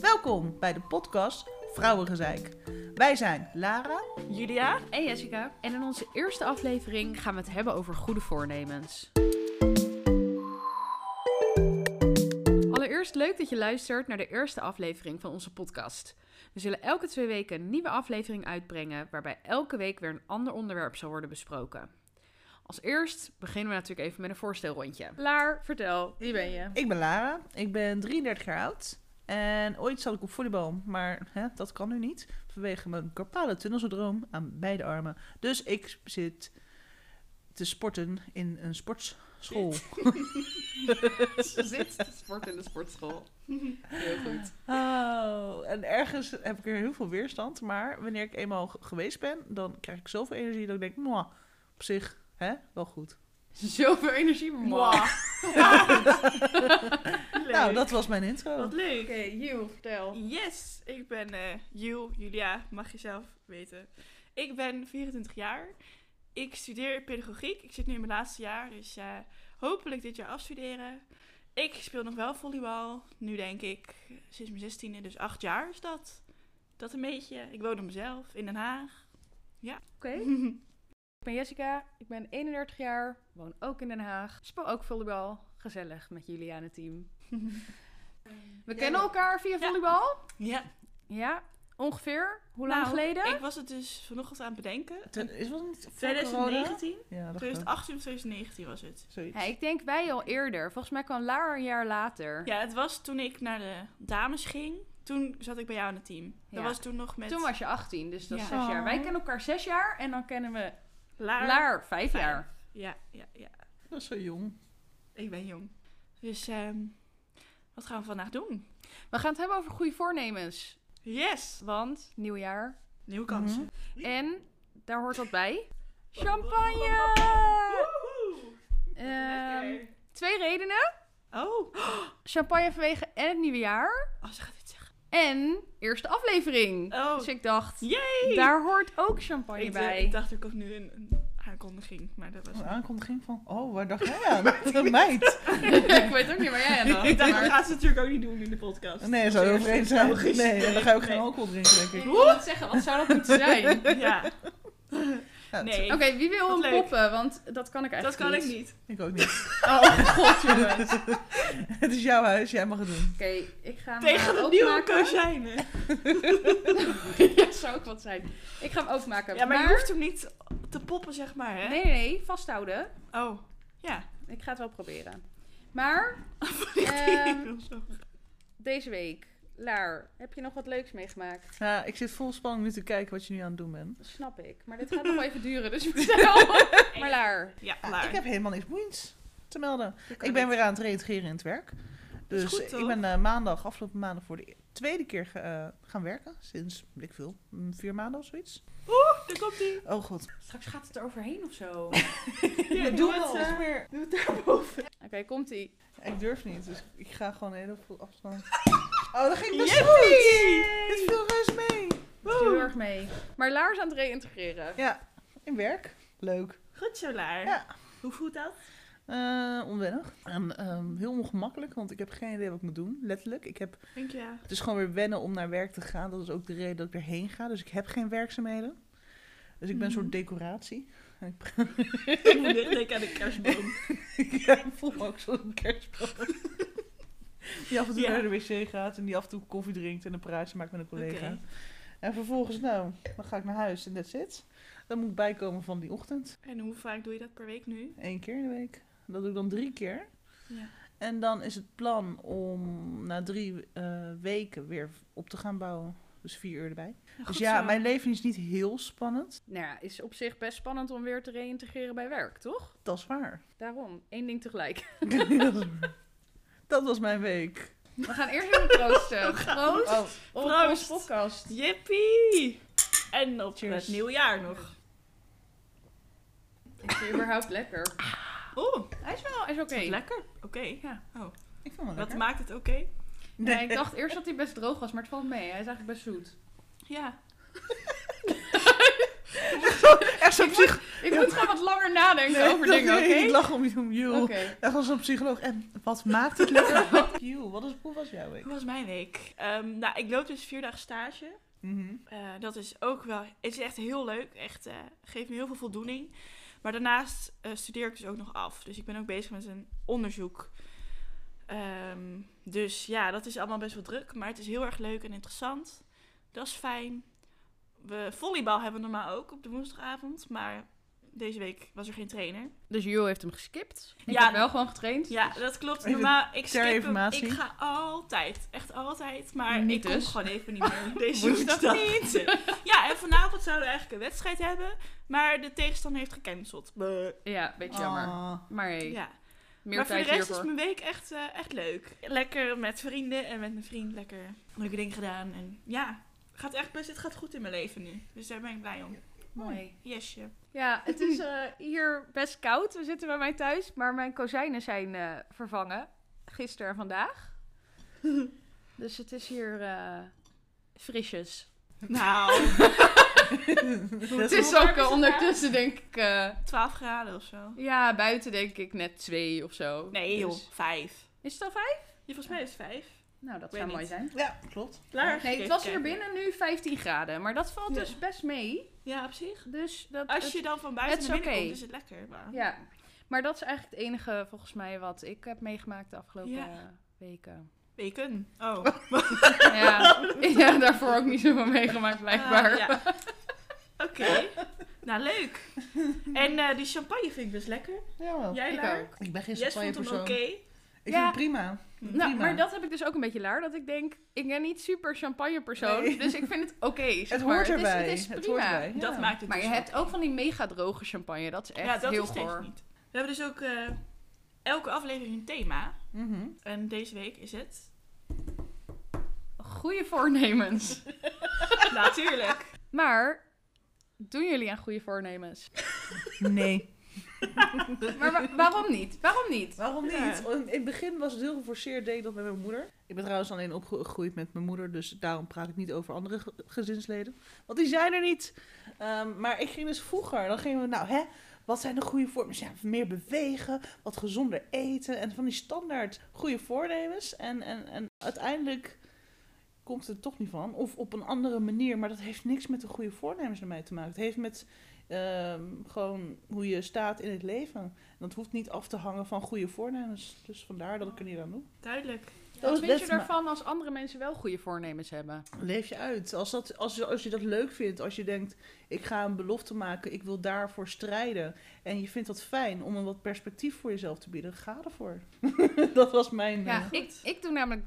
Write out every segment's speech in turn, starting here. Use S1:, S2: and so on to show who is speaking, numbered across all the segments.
S1: Welkom bij de podcast Vrouwengezeik. Wij zijn Lara.
S2: Julia?
S3: En Jessica. En in onze eerste aflevering gaan we het hebben over goede voornemens. Allereerst leuk dat je luistert naar de eerste aflevering van onze podcast. We zullen elke twee weken een nieuwe aflevering uitbrengen, waarbij elke week weer een ander onderwerp zal worden besproken. Als eerst beginnen we natuurlijk even met een voorstelrondje.
S2: Laar, vertel, wie ben je?
S1: Ik ben Lara. Ik ben 33 jaar oud. En ooit zat ik op volleybal, maar hè, dat kan nu niet. Vanwege mijn carpale tunnelsyndroom aan beide armen. Dus ik zit te sporten in een sportschool.
S3: Ze zit te sporten in de sportschool. Heel goed.
S1: Oh, en ergens heb ik er heel veel weerstand. Maar wanneer ik eenmaal g- geweest ben, dan krijg ik zoveel energie dat ik denk, "Mwah, op zich, hè, wel goed.
S3: Zoveel energie.
S2: Mwah.
S1: Nou, dat was mijn intro.
S2: Wat leuk.
S4: Oké, Jules, vertel.
S2: Yes, ik ben eh Jules, Julia, mag je zelf weten. Ik ben 24 jaar. Ik studeer pedagogiek. Ik zit nu in mijn laatste jaar, dus eh, hopelijk dit jaar afstuderen. Ik speel nog wel volleybal. Nu denk ik eh, sinds mijn 16e, dus 8 jaar is dat. Dat een beetje. Ik woon op mezelf in Den Haag.
S3: Oké. Ik ben Jessica, ik ben 31 jaar, woon ook in Den Haag, speel ook volleybal. Gezellig met jullie aan het team. We
S4: Ja.
S3: kennen elkaar via
S2: Ja.
S3: volleybal?
S2: Ja,
S3: Ja, ongeveer. Hoe
S2: Nou,
S3: lang geleden?
S2: Ik was het dus vanochtend aan het bedenken.
S1: Ten- Is dat niet voor corona?
S2: 2019?
S1: Ja, dat kan.
S2: 2018 of 2019 was het.
S1: Zoiets.
S3: Ja, ik denk wij al eerder. Volgens mij kwam Lara een jaar later.
S2: Ja, het was toen ik naar de dames ging. Toen zat ik bij jou aan het team. Dat
S3: Ja.
S2: was toen nog met
S3: Toen was je 18, dus dat is
S2: Ja.
S3: zes jaar. Wij
S1: Oh.
S3: kennen elkaar zes jaar en dan kennen we
S2: Lara.
S3: Laar vijf
S2: Vijf.
S3: jaar.
S2: Ja, ja, ja.
S1: Dat is zo jong.
S2: Ik ben jong. Dus ehm, wat gaan we vandaag doen?
S3: We gaan het hebben over goede voornemens.
S2: Yes!
S3: Want, nieuwjaar.
S2: Nieuwe Eh. kansen.
S3: Mhm. En, daar hoort wat bij. Champagne!
S2: Woehoe!
S3: Ehm,
S2: Lekker.
S3: twee redenen.
S2: Oh,
S3: Champagne vanwege en het nieuwe jaar.
S2: oh, ze gaat dit zeggen.
S3: En eerste aflevering.
S2: Oh.
S3: Dus ik dacht,
S2: Yay!
S3: daar hoort ook champagne
S2: ik, eh,
S3: bij.
S2: ik dacht, er komt nu een, een aankondiging, maar dat was
S1: Een
S2: niet.
S1: aankondiging van, oh, waar dacht jij aan? Een meid.
S3: ik weet ook niet waar jij aan dacht.
S2: Oh, Ik dacht,
S3: maar-
S2: dat gaat ze natuurlijk ook niet doen in de podcast.
S1: Nee, zou heel vreemd zijn.
S2: Logisch.
S1: Nee, en dan ga je ook geen
S2: Nee.
S1: alcohol drinken, denk
S3: Ik
S1: ik.
S3: wil het zeggen, wat zou dat moeten zijn? Oké,
S2: Ja,
S1: Ja,
S2: nee.
S3: wie wil
S2: Wat
S3: hem
S2: leuk.
S3: poppen? Want dat kan ik
S2: dat
S3: eigenlijk
S2: kan ik niet.
S1: Ik ook niet.
S3: Oh, god jongens. Oké,
S1: Het is jouw huis, jij mag het doen.
S3: ik ga hem
S2: Tegen
S3: eh,
S2: de nieuwe
S3: openmaken.
S2: kozijnen.
S3: ja, zou ook wat zijn. Ik ga hem openmaken.
S2: Ja, maar je hoeft hem niet te poppen, zeg maar, hè?
S3: Nee, nee, nee, vasthouden.
S2: Oh, ja.
S3: Ik ga het wel proberen. Maar, ehm, deze week, Laar, heb je nog wat leuks meegemaakt?
S1: Ja, ik zit vol spanning nu te kijken wat je nu aan het doen bent.
S3: Dat snap ik. Maar dit gaat nog wel even duren, dus vertel. maar Laar,
S2: ja,
S1: Ja,
S2: klaar.
S1: Ah, ik heb helemaal niks boeiends te melden.
S3: je kan
S1: Ik ben
S3: het.
S1: weer aan het reageren in het werk.
S2: is
S1: Dus
S2: goed,
S1: ik
S2: toch?
S1: ben eh, maandag, afgelopen maandag, voor de e- tweede keer ge- eh, gaan werken. Sinds, weet ik veel, mm, vier maanden of zoiets.
S2: Oeh, daar komt ie.
S1: Oh god.
S3: Straks gaat het er overheen of zo.
S2: Ja,
S1: doe
S2: het,
S1: wel
S2: eh,
S1: eens meer.
S2: doe het daarboven.
S3: Oké, komt-ie.
S1: Ik durf niet, dus ik ga gewoon heel veel afstand. Oh, dat ging best
S2: Yippie!
S1: goed! Het viel rust mee.
S3: Het viel heel erg mee. Maar Laar is aan het reïntegreren.
S1: Ja, in werk. Leuk.
S2: Goed zo, Laar.
S1: Ja.
S2: Hoe voelt dat?
S1: Eh, onwennig. En ehm, heel ongemakkelijk, want ik heb geen idee wat ik moet doen. Letterlijk. Ik heb,
S2: Denk je, ja.
S1: het is gewoon weer wennen om naar werk te gaan. Dat is ook de reden dat ik erheen ga. Dus ik heb geen werkzaamheden. Dus ik ben een soort decoratie. En ik,
S2: Ik moet echt denken aan de kerstboom.
S1: ja, ik voel me ook zo'n kerstboom. Die af en toe
S2: Ja.
S1: naar de wc gaat en die af en toe koffie drinkt en een praatje maakt met een collega.
S2: Oké.
S1: En vervolgens, nou, dan ga ik naar huis en that's it. Dan moet ik bijkomen van die ochtend.
S2: En hoe vaak doe je dat per week nu?
S1: Eén keer in de week. Dat doe ik dan drie keer.
S2: Ja.
S1: En dan is het plan om na drie eh, weken weer op te gaan bouwen. Dus vier uur erbij.
S2: Goed
S1: dus ja,
S2: zo.
S1: mijn leven is niet heel spannend.
S3: Nou ja, is op zich best spannend om weer te reïntegreren bij werk, toch?
S1: Dat is waar.
S3: Daarom, één ding tegelijk.
S1: Dat is waar. Dat was mijn week.
S3: We gaan eerst even proosten. Proost
S1: Oh,
S3: op
S2: Proost.
S3: onze podcast.
S2: Jippie! En op
S1: Cheers.
S2: het nieuwjaar nog.
S3: Ik vind het überhaupt lekker.
S2: Oeh,
S3: Hij is wel, hij is oké.
S2: Oh, lekker. Oké.
S3: Ja.
S1: ik vond het
S2: Wat
S1: Oh, lekker.
S2: maakt het oké?
S3: Nee, ik dacht eerst dat hij best droog was, maar het valt mee. Hij is eigenlijk best zoet.
S2: Ja.
S1: Echt als een psycholoog.
S3: Ik moet gewoon wat langer nadenken over dingen, oké?
S1: Ik lach om je om Jules.
S3: Oké.
S1: Echt als een psycholoog. En wat maakt het lekker? Jules, wat is, hoe was jouw week?
S2: Hoe was mijn week? Ehm, nou, ik loop dus vier dagen stage.
S1: Mhm.
S2: Eh, dat is ook wel... Het is echt heel leuk. Echt, eh, geeft me heel veel voldoening. Maar daarnaast eh, studeer ik dus ook nog af. Dus ik ben ook bezig met een onderzoek. Ehm, dus ja, dat is allemaal best wel druk. Maar het is heel erg leuk en interessant. Dat is fijn. We, volleybal hebben we normaal ook op de woensdagavond. Maar deze week was er geen trainer.
S3: Dus Jules heeft hem geskipt. Ik
S2: Ja.
S3: heb wel gewoon getraind.
S2: Ja, dat klopt.
S1: Even
S2: Normaal, ik
S1: ter
S2: skip hem.
S1: informatie.
S2: Ik ga altijd, echt altijd. Maar
S3: Niet
S2: ik kom
S3: dus.
S2: gewoon even niet meer deze
S3: Woensdag
S2: woensdag. Niet. Ja, en vanavond zouden we eigenlijk een wedstrijd hebben. Maar de tegenstander heeft gecanceld. Bleh.
S3: Ja, beetje jammer.
S1: Ah.
S3: Maar hey,
S2: Ja.
S3: meer
S2: maar voor de
S3: tijd
S2: rest is
S3: hiervoor.
S2: mijn week echt, eh, echt leuk. Lekker met vrienden en met mijn vriend. Lekker leuke dingen gedaan. En ja, gaat echt best, het gaat goed in mijn leven nu. Dus daar ben ik blij om.
S3: Mooi.
S2: Yesje.
S3: Ja, het is eh, hier best koud. We zitten bij mij thuis, maar mijn kozijnen zijn eh, vervangen. Gisteren en vandaag. dus het is hier eh, frisjes.
S2: Nou,
S3: Het
S2: hoe
S3: is
S2: warm
S3: ook
S2: is het
S3: eh, ondertussen denk ik... eh,
S2: 12 graden of zo.
S3: ja, buiten denk ik net twee of zo.
S2: Nee joh,
S3: Dus-
S2: 5.
S3: Is het al vijf?
S2: Ja, volgens mij is het 5.
S3: Nou, dat
S2: Weet
S3: zou
S2: niet.
S3: mooi zijn.
S1: Ja, klopt.
S2: Klaar.
S3: Nee, het
S2: gekeken.
S3: was hier binnen nu 15 graden, maar dat valt
S2: Ja.
S3: dus best mee.
S2: Ja, op zich.
S3: Dus dat,
S2: Als
S3: het-
S2: je dan van buiten
S3: het is
S2: naar binnen
S3: oké.
S2: komt, is het lekker. Maar...
S3: Ja, maar dat is eigenlijk het enige volgens mij wat ik heb meegemaakt de afgelopen
S2: Ja.
S3: eh, weken.
S2: Weken. Oh.
S3: Ja. ja, daarvoor ook niet zoveel meegemaakt blijkbaar.
S2: Ah, ja. Oké. nou, leuk. En eh, die champagne vind ik best lekker.
S1: Jawel.
S2: Jij
S3: ik
S2: Laar?
S3: ook.
S1: Ik ben geen
S2: Jess
S1: champagne
S2: vond hem oké.
S1: persoon. Ik
S3: Ja.
S1: vind het prima.
S3: Nou,
S1: Prima.
S3: maar dat heb ik dus ook een beetje laar. Dat ik denk, ik ben niet super champagne persoon.
S1: Nee.
S3: Dus ik vind het oké. zeg
S1: Het
S3: maar.
S1: hoort
S3: is-
S1: erbij.
S3: Het is,
S1: hoort
S3: prima.
S1: erbij.
S2: Dat
S1: Ja.
S2: maakt het
S3: Maar
S2: dus
S3: je hebt
S2: oké.
S3: ook van die mega droge champagne. Dat is echt
S2: Ja, dat
S3: heel
S2: is steeds
S3: goor.
S2: niet. We hebben dus ook eh, elke aflevering een thema.
S1: Mhm.
S2: En deze week is het...
S3: Goede voornemens.
S2: Natuurlijk.
S3: maar doen jullie aan goede voornemens?
S1: Nee.
S3: Maar wa- waarom niet? Waarom niet?
S1: Waarom niet?
S2: Ja.
S1: In het begin was het heel geforceerd, deed ik dat met mijn moeder. Ik ben trouwens alleen opgegroeid met mijn moeder, dus daarom praat ik niet over andere ge- gezinsleden. Want die zijn er niet. Ehm, maar ik ging dus vroeger, dan gingen we, nou hè, wat zijn de goede voornemens? Ja, meer bewegen, wat gezonder eten en van die standaard goede voornemens. En, en, en uiteindelijk komt het er toch niet van. Of op een andere manier, maar dat heeft niks met de goede voornemens naar mij te maken. Het heeft met ehm, gewoon hoe je staat in het leven. En Dat hoeft niet af te hangen van goede voornemens. Dus vandaar dat ik er niet aan doe.
S2: Duidelijk.
S1: Dat
S3: Wat
S1: is
S3: vind je
S1: best maar-
S3: ervan als andere mensen wel goede voornemens hebben?
S1: Leef je uit. Als, dat, als, je- als je dat leuk vindt, als je denkt, ik ga een belofte maken, ik wil daarvoor strijden. En je vindt dat fijn om een wat perspectief voor jezelf te bieden, ga ervoor. dat was mijn...
S3: Ja,
S1: eh,
S3: ik, ik doe namelijk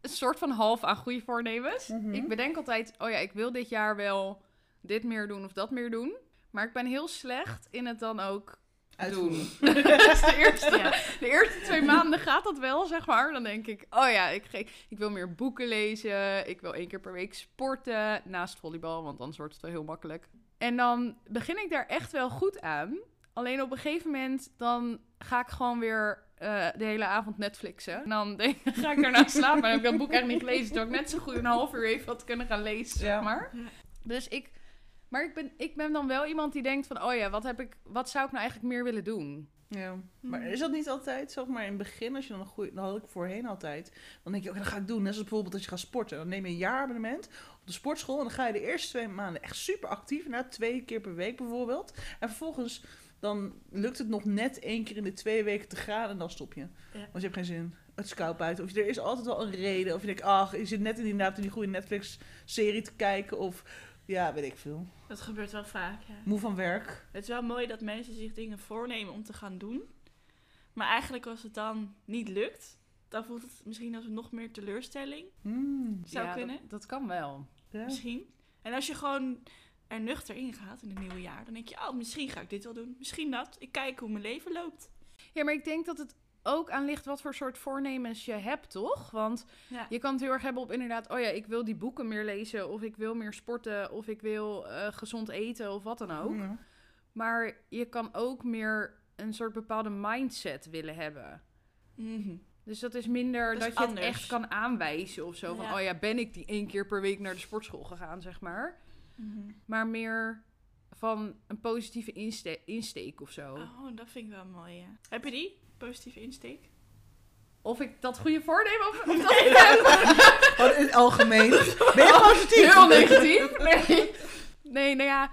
S3: een soort van half aan goede voornemens.
S1: Mhm.
S3: Ik bedenk altijd, oh ja, ik wil dit jaar wel dit meer doen of dat meer doen. Maar ik ben heel slecht in het dan ook
S1: uitvoering.
S3: doen. dus de eerste,
S2: Ja.
S3: de eerste twee maanden gaat dat wel, zeg maar. Dan denk ik, oh ja, ik, ge- ik wil meer boeken lezen. Ik wil één keer per week sporten. Naast volleybal, want anders wordt het wel heel makkelijk. En dan begin ik daar echt wel goed aan. Alleen op een gegeven moment dan ga ik gewoon weer eh, de hele avond Netflixen. En dan denk, ga ik daarna slapen. En heb ik dat boek echt niet gelezen. Terwijl ik net zo goed een half uur even had kunnen gaan lezen,
S1: Ja.
S3: zeg maar.
S2: Ja.
S3: Dus ik... Maar ik ben, ik ben dan wel iemand die denkt van... Oh ja, wat, heb ik, wat zou ik nou eigenlijk meer willen doen?
S1: Ja. Maar is dat niet altijd zo? Maar in het begin, als je dan een goede... Dat had ik voorheen altijd. Dan denk je, oké, dat ga ik doen. Net zoals bijvoorbeeld als je gaat sporten. Dan neem je een jaarabonnement op de sportschool. En dan ga je de eerste twee maanden echt super actief. Nou, twee keer per week bijvoorbeeld. En vervolgens, dan lukt het nog net één keer in de twee weken te gaan. En dan stop je. Want je hebt geen zin. Het is koud buiten. Of er is altijd wel een reden. Of je denkt, ach, ik zit net inderdaad in die goede Netflix-serie te kijken. Of, ja, weet ik veel.
S2: Dat gebeurt wel vaak, ja.
S1: Moe van werk.
S2: Het is wel mooi dat mensen zich dingen voornemen om te gaan doen. Maar eigenlijk als het dan niet lukt, dan voelt het misschien als nog meer teleurstelling.
S1: Mm,
S2: Zou
S3: Ja, dat-
S2: kunnen.
S3: Dat, kan wel.
S1: ja.
S2: Misschien. En als je gewoon er nuchter in gaat in het nieuwe jaar, dan denk je, oh, misschien ga ik dit wel doen. Misschien dat. Ik kijk hoe mijn leven loopt.
S3: Ja, maar ik denk dat het ook aan ligt wat voor soort voornemens je hebt, toch? Want
S2: Ja.
S3: je kan het heel erg hebben op inderdaad... Oh ja, ik wil die boeken meer lezen. Of ik wil meer sporten. Of ik wil eh, gezond eten. Of wat dan ook.
S1: Ja.
S3: Maar je kan ook meer een soort bepaalde mindset willen hebben.
S2: Mhm.
S3: Dus dat is minder
S2: Dat
S3: dat,
S2: is
S3: je
S2: anders.
S3: het echt kan aanwijzen of zo. Van,
S2: Ja.
S3: oh ja, ben ik die één keer per week naar de sportschool gegaan, zeg maar.
S2: Mhm.
S3: Maar meer van een positieve inste- insteek of zo.
S2: Oh, dat vind ik wel mooi, ja. Heb je die? Positieve insteek?
S3: Of ik dat goede voornemen of, of dat
S2: Nee.
S3: ik heb.
S1: Gewoon in het Oh, algemeen. Ben je positief?
S3: Heel negatief. Nee. nee, nou ja.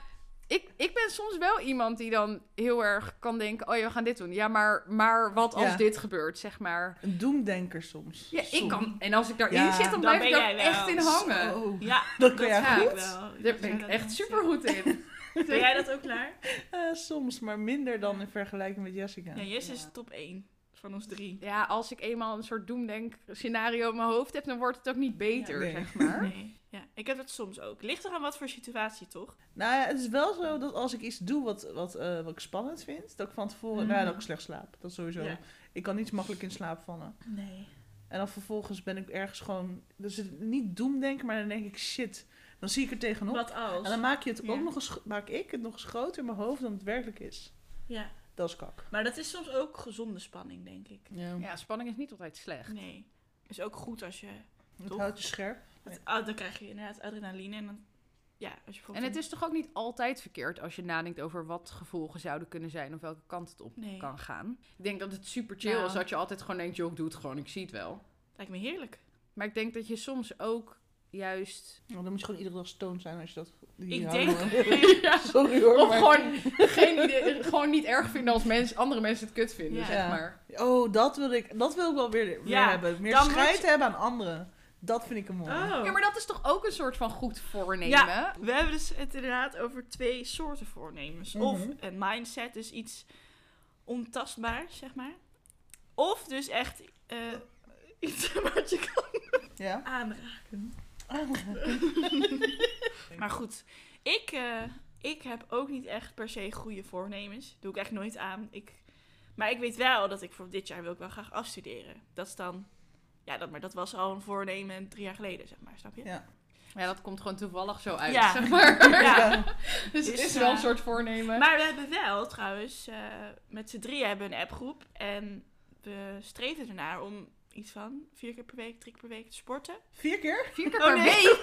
S3: Ik, ik ben soms wel iemand die dan heel erg kan denken... oh ja, we gaan dit doen. Ja, maar, maar wat als
S1: Ja.
S3: dit gebeurt, zeg maar.
S1: Een doemdenker soms.
S3: Ja, ik
S1: Soms.
S3: kan... En als ik daarin
S1: Ja.
S3: zit, dan
S2: Dan
S3: blijf
S2: ben
S3: ik daar
S2: jij wel.
S3: echt in hangen.
S1: Zo.
S2: Ja,
S1: Oh. dat kan jij
S3: ja.
S2: vind ik
S1: goed.
S2: wel.
S3: Daar
S2: zou
S3: ben ik
S2: dat
S3: echt
S2: wel
S3: super goed in.
S2: zeggen. Ben jij dat ook klaar?
S1: Eh, soms, maar minder dan in vergelijking met Jessica.
S2: Ja, Jess
S3: Ja.
S2: is top 1 van ons drie.
S3: Ja, als ik eenmaal een soort doemdenk scenario in mijn hoofd heb... dan wordt het ook niet beter,
S1: Nee.
S3: zeg maar.
S2: Nee. Ja, ik heb dat soms ook. Ligt er aan wat voor situatie, toch?
S1: Nou ja, het is wel zo dat als ik iets doe wat, wat, eh, wat ik spannend vind, dat ik van tevoren, nou ja, dat ik
S2: Mhm.
S1: slecht slaap. Dat sowieso.
S2: Ja.
S1: Ik kan niet makkelijk in slaap vallen.
S2: Nee.
S1: En dan vervolgens ben ik ergens gewoon, dus het niet doemdenken, maar dan denk ik, shit, dan zie ik er tegenop.
S2: Wat
S1: En
S2: als?
S1: dan maak, je het
S2: Ja.
S1: ook nog eens, gro- maak ik het nog eens groter in mijn hoofd dan het werkelijk is.
S2: Ja.
S1: Dat is kak.
S2: Maar dat is soms ook gezonde spanning, denk ik.
S3: Ja, spanning is niet altijd slecht.
S2: Nee. Is ook goed als je...
S1: Het
S2: toch?
S1: houdt je scherp.
S2: dat- ah, dan krijg je inderdaad adrenaline en dan... Ja, als je
S3: En
S2: bijvoorbeeld
S3: het is toch ook niet altijd verkeerd als je nadenkt over wat gevolgen zouden kunnen zijn of welke kant het op
S2: Nee.
S3: kan gaan. Ik denk dat het super chill
S2: Nou.
S3: is dat je altijd gewoon denkt, joh, ik doe het gewoon, ik zie het wel.
S2: Lijkt me heerlijk.
S3: Maar ik denk dat je soms ook juist...
S1: Nou, dan moet je gewoon iedere dag stoned zijn als je dat... hier
S2: Ik
S1: houden,
S2: denk-
S1: hoor.
S3: Ja.
S1: Sorry hoor.
S3: Of
S1: maar-
S3: gewoon, geen idee- gewoon niet erg vinden als mensen andere mensen het kut vinden,
S2: Ja.
S3: zeg
S1: Ja.
S3: maar.
S1: Oh, dat wil ik, dat wil ik wel weer, weer
S2: Ja,
S1: hebben. Meer
S2: dan moet
S1: scheid
S2: je-
S1: hebben aan anderen. Dat vind ik een mooi.
S2: Oh.
S3: Ja, maar dat is toch ook een soort van goed voornemen?
S2: Ja, we hebben dus het inderdaad over twee soorten voornemens.
S1: Mhm.
S2: Of een mindset, dus iets ontastbaars, zeg maar. Of dus echt eh, iets wat je kan
S1: Ja.
S2: aanraken. maar goed, ik, eh, ik heb ook niet echt per se goede voornemens. Doe ik echt nooit aan. Ik, maar ik weet wel dat ik voor dit jaar wil ik wel graag afstuderen. Dat is dan... Ja, dat, maar dat was al een voornemen drie jaar geleden, zeg maar. Snap je?
S1: Ja.
S3: Ja, dat komt gewoon toevallig zo uit,
S2: Ja.
S3: zeg maar.
S2: Ja.
S3: Dus het
S2: Dus,
S3: is wel een
S2: eh,
S3: soort voornemen.
S2: Maar we hebben wel trouwens, eh, met z'n drieën hebben we een appgroep. En we streven ernaar om iets van vier keer per week, drie keer per week te sporten.
S1: Vier keer?
S3: Vier keer
S2: Oh,
S3: per
S2: nee.
S3: week?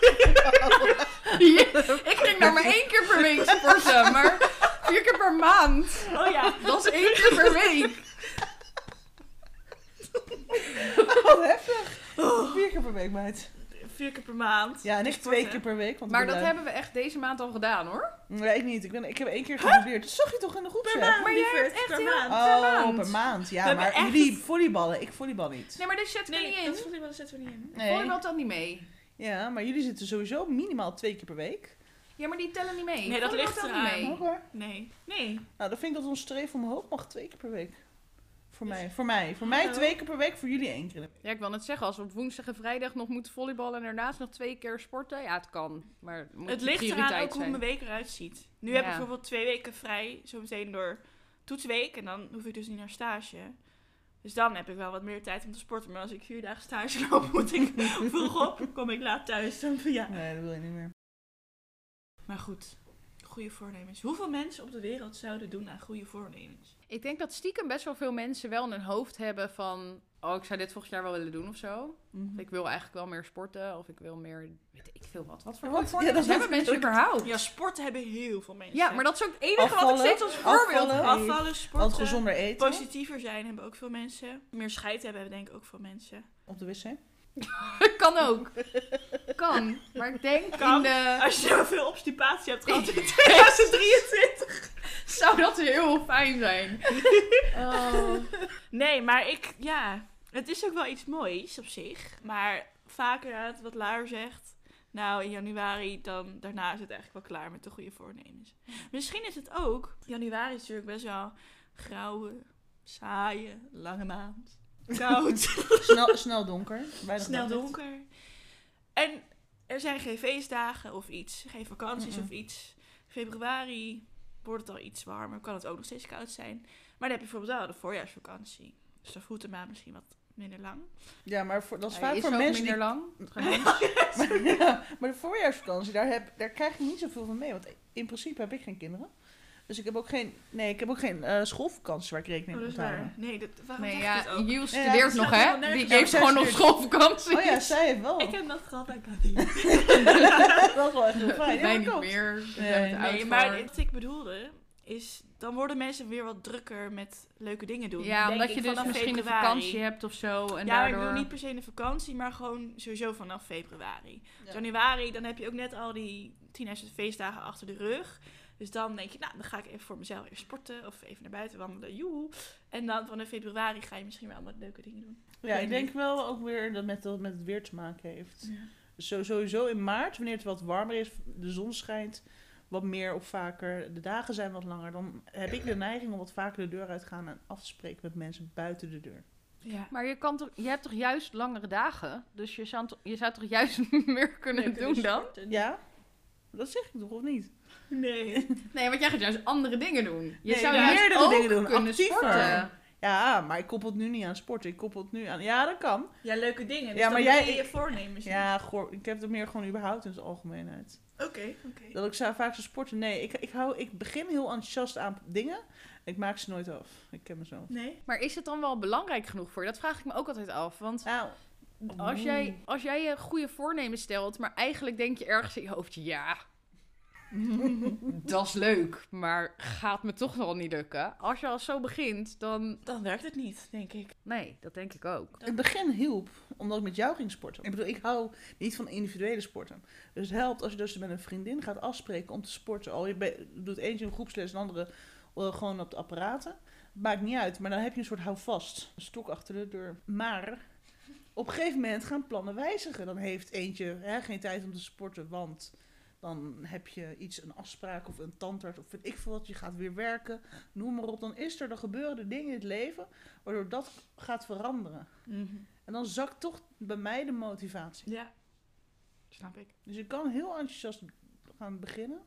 S3: Ja, ik ging daar maar één keer per week sporten, maar vier keer per maand.
S2: Oh ja,
S3: Dat is één keer per week.
S1: Wat heftig.
S2: Oh.
S1: Vier keer per week, meid.
S2: vier keer per maand.
S1: Ja, en ik
S2: sporten.
S1: twee keer per week. Want ik
S3: Maar
S1: ben
S3: dat
S1: lui.
S3: hebben we echt deze maand al gedaan
S2: Oh,
S3: hoor.
S1: Nee, ik niet. Ik, ben, ik heb één keer geprobeerd. Dat zag je toch in de groep,
S2: maand,
S3: Maar jij hebt
S2: lieverd,
S3: echt
S2: per
S3: heel-
S2: maand.
S1: Oh,
S3: per maand.
S1: per maand. Ja,
S2: We
S1: maar
S2: hebben echt-
S1: jullie volleyballen. Ik volleybal niet.
S3: Nee, maar dit zet er
S2: Nee, dat
S3: niet in.
S2: voelde ik wel, dat zetten we niet in.
S3: Nee. Volleybal telt niet mee.
S1: Ja, maar jullie zitten sowieso minimaal twee keer per week.
S3: Ja, maar die tellen niet mee.
S2: Nee, dat
S3: Volleybal
S2: ligt
S3: telt
S2: eraan.
S3: niet mee.
S1: Oké.
S2: Nee, nee.
S1: Nou, dan vind ik dat ons streven omhoog mag twee keer per week. Voor
S2: Dus-
S1: mij. Voor mij. Voor mij
S2: Hallo.
S1: twee keer per week, voor jullie één keer.
S3: Ja, ik wil net zeggen, als we op woensdag en vrijdag nog moeten volleyballen en daarnaast nog twee keer sporten, ja, het kan. Maar het, moet
S2: het
S3: je
S2: ligt eraan
S3: prioriteit
S2: ook hoe
S3: zijn.
S2: mijn week eruit ziet. Nu
S3: Ja.
S2: heb ik bijvoorbeeld twee weken vrij, zometeen door toetsweek. En dan hoef ik dus niet naar stage. Dus dan heb ik wel wat meer tijd om te sporten. Maar als ik vier dagen stage loop, moet ik vroeg op. Kom ik laat thuis. Dan van ja,
S1: Nee, dat wil je niet meer.
S2: Maar goed, goede voornemens. Hoeveel mensen op de wereld zouden doen aan goede voornemens?
S3: Ik denk dat stiekem best wel veel mensen wel in hun hoofd hebben van, oh, ik zou dit volgend jaar wel willen doen of zo.
S1: Mhm.
S3: Ik wil eigenlijk wel meer sporten of ik wil meer, weet ik veel wat. Wat voor
S1: Wat?
S3: wat voor dat
S1: Ja, dat
S3: hebben
S1: is
S3: mensen
S1: natuurlijk-
S3: überhaupt? Ja,
S2: Ja, sporten hebben heel veel mensen.
S3: maar dat is ook het enige wat ik steeds als
S1: Afvallen,
S3: voorbeeld heb.
S1: afvallen.
S2: Afvallen,
S1: Wat
S2: sporten,
S1: gezonder eten.
S2: positiever zijn hebben ook veel mensen. Meer scheid hebben hebben denk ik ook veel mensen.
S1: Op de wc.
S3: Kan ook. Kan. Maar ik denk
S2: Kan.
S3: in de...
S2: Als je zoveel obstipatie hebt gehad in 2023.
S3: Zou dat heel fijn zijn. Oh.
S2: Nee, maar ik, ja, het is ook wel iets moois op zich. Maar vaker uit wat Laar zegt. Nou, in januari, dan, daarna is het eigenlijk wel klaar met de goede voornemens. Misschien is het ook, januari is natuurlijk best wel grauwe, saaie, lange maand. Koud,
S1: Snel, snel donker. Weinig
S2: snel
S1: daglicht.
S2: donker. En er zijn geen feestdagen of iets, geen vakanties
S1: Mm-mm.
S2: of iets. Februari wordt het al iets warmer, kan het ook nog steeds koud zijn. Maar dan heb je bijvoorbeeld wel de voorjaarsvakantie. Dus dan voelt de maand misschien wat minder lang.
S1: Ja, maar voor, dat is
S3: Hij
S1: vaak
S3: is
S1: voor
S3: ook
S1: mensen
S3: minder
S1: die...
S3: lang.
S2: Oh,
S1: Maar, ja, maar de voorjaarsvakantie, daar, heb, daar krijg je niet zoveel van mee. Want in principe heb ik geen kinderen. Dus ik heb ook geen, nee, ik heb ook geen eh, schoolvakanties waar ik rekening
S2: Oh,
S1: mee
S2: dat is
S1: moet houden.
S2: waar. Nee, dat, waarom
S3: Nee,
S2: zeg ik dit
S3: ja,
S2: ook?
S3: Jules
S1: Ja,
S3: studeert
S1: dat
S3: nog,
S2: staat
S3: hè?
S2: helemaal
S3: Die
S2: nergens
S3: heeft
S1: op.
S3: gewoon
S1: Zij
S3: nog schoolvakantie.
S1: Oh ja, zij heeft wel.
S2: Ik heb dat gehad aan Katien.
S1: dat is wel echt heel fijn. Ja,
S3: Wij
S1: dat
S3: niet
S1: klopt.
S3: meer. eh, We zijn
S1: Nee,
S3: er te
S1: nee,
S3: oud
S2: Nee, maar
S3: voor.
S2: wat ik bedoelde is, dan worden mensen weer wat drukker met leuke dingen doen.
S3: Ja,
S2: Denk
S3: omdat
S2: ik,
S3: je dus
S2: vanaf
S3: misschien een
S2: februari.
S3: vakantie hebt of zo. En
S2: ja, maar
S3: daardoor...
S2: ik bedoel niet per se in de vakantie, maar gewoon sowieso vanaf februari. Dus
S1: Ja.
S2: Januari, dan heb je ook net al die 10.000 feestdagen achter de rug. Dus dan denk je, nou, dan ga ik even voor mezelf weer sporten of even naar buiten wandelen. Joehoe. En dan vanaf februari ga je misschien wel wat leuke dingen doen.
S1: Ja, ik denk wel ook weer dat met, dat met het weer te maken heeft.
S2: Ja.
S1: Zo, sowieso in maart, wanneer het wat warmer is, de zon schijnt wat meer of vaker, de dagen zijn wat langer, dan heb ik de neiging om wat vaker de deur uit te gaan en af te spreken met mensen buiten de deur.
S2: Ja.
S3: Maar je, kan toch, je hebt toch juist langere dagen? Dus je zou, toch- je zou toch juist meer kunnen doen
S2: dus
S3: dan?
S1: Ja, dat zeg ik toch of niet?
S2: Nee.
S3: Nee, want jij gaat juist andere dingen doen. Je
S1: Nee,
S3: zou
S1: ja,
S3: juist
S1: meerdere
S3: ook
S1: dingen doen,
S3: kunnen
S1: actiever.
S3: sporten.
S1: Ja, maar ik koppel het nu niet aan sport, ik koppel het nu aan... Ja, dat kan.
S2: Ja, leuke dingen. Dus
S1: Ja, maar
S2: dan
S1: jij-
S2: ben je je voornemens. niet.
S1: Ja, goor, ik heb het meer gewoon überhaupt in zijn algemeenheid.
S2: Oké, oké.
S1: Dat ik zou vaak zou sporten. Nee, ik, ik, hou, ik begin heel enthousiast aan dingen. Ik maak ze nooit af. Ik ken mezelf.
S2: Nee?
S3: Maar is het dan wel belangrijk genoeg voor je? Dat vraag ik me ook altijd af. Want
S1: Nou,
S3: als jij, als jij je goede voornemen stelt, maar eigenlijk denk je ergens in je hoofdje... Ja, dat is leuk, maar gaat me toch wel niet lukken. Als je al zo begint, dan...
S2: Dan werkt het niet, denk ik.
S3: Nee, dat denk ik ook.
S1: het begin hielp omdat ik met jou ging sporten. Ik bedoel, ik hou niet van individuele sporten. Dus het helpt als je dus met een vriendin gaat afspreken om te sporten. Al je be- doet eentje een groepsles en de andere eh, gewoon op de apparaten. Maakt niet uit, maar dan heb je een soort houvast. Een stok achter de deur. Maar op een gegeven moment gaan plannen wijzigen. Dan heeft eentje hè, geen tijd om te sporten, want dan heb je iets, een afspraak of een tandarts of weet ik veel wat. Je gaat weer werken, noem maar op. Dan is er, dan gebeuren er dingen in het leven waardoor dat gaat veranderen.
S3: Mhm.
S1: En dan zakt toch bij mij de motivatie.
S2: Ja. Snap ik.
S1: Dus je kan heel enthousiast gaan beginnen.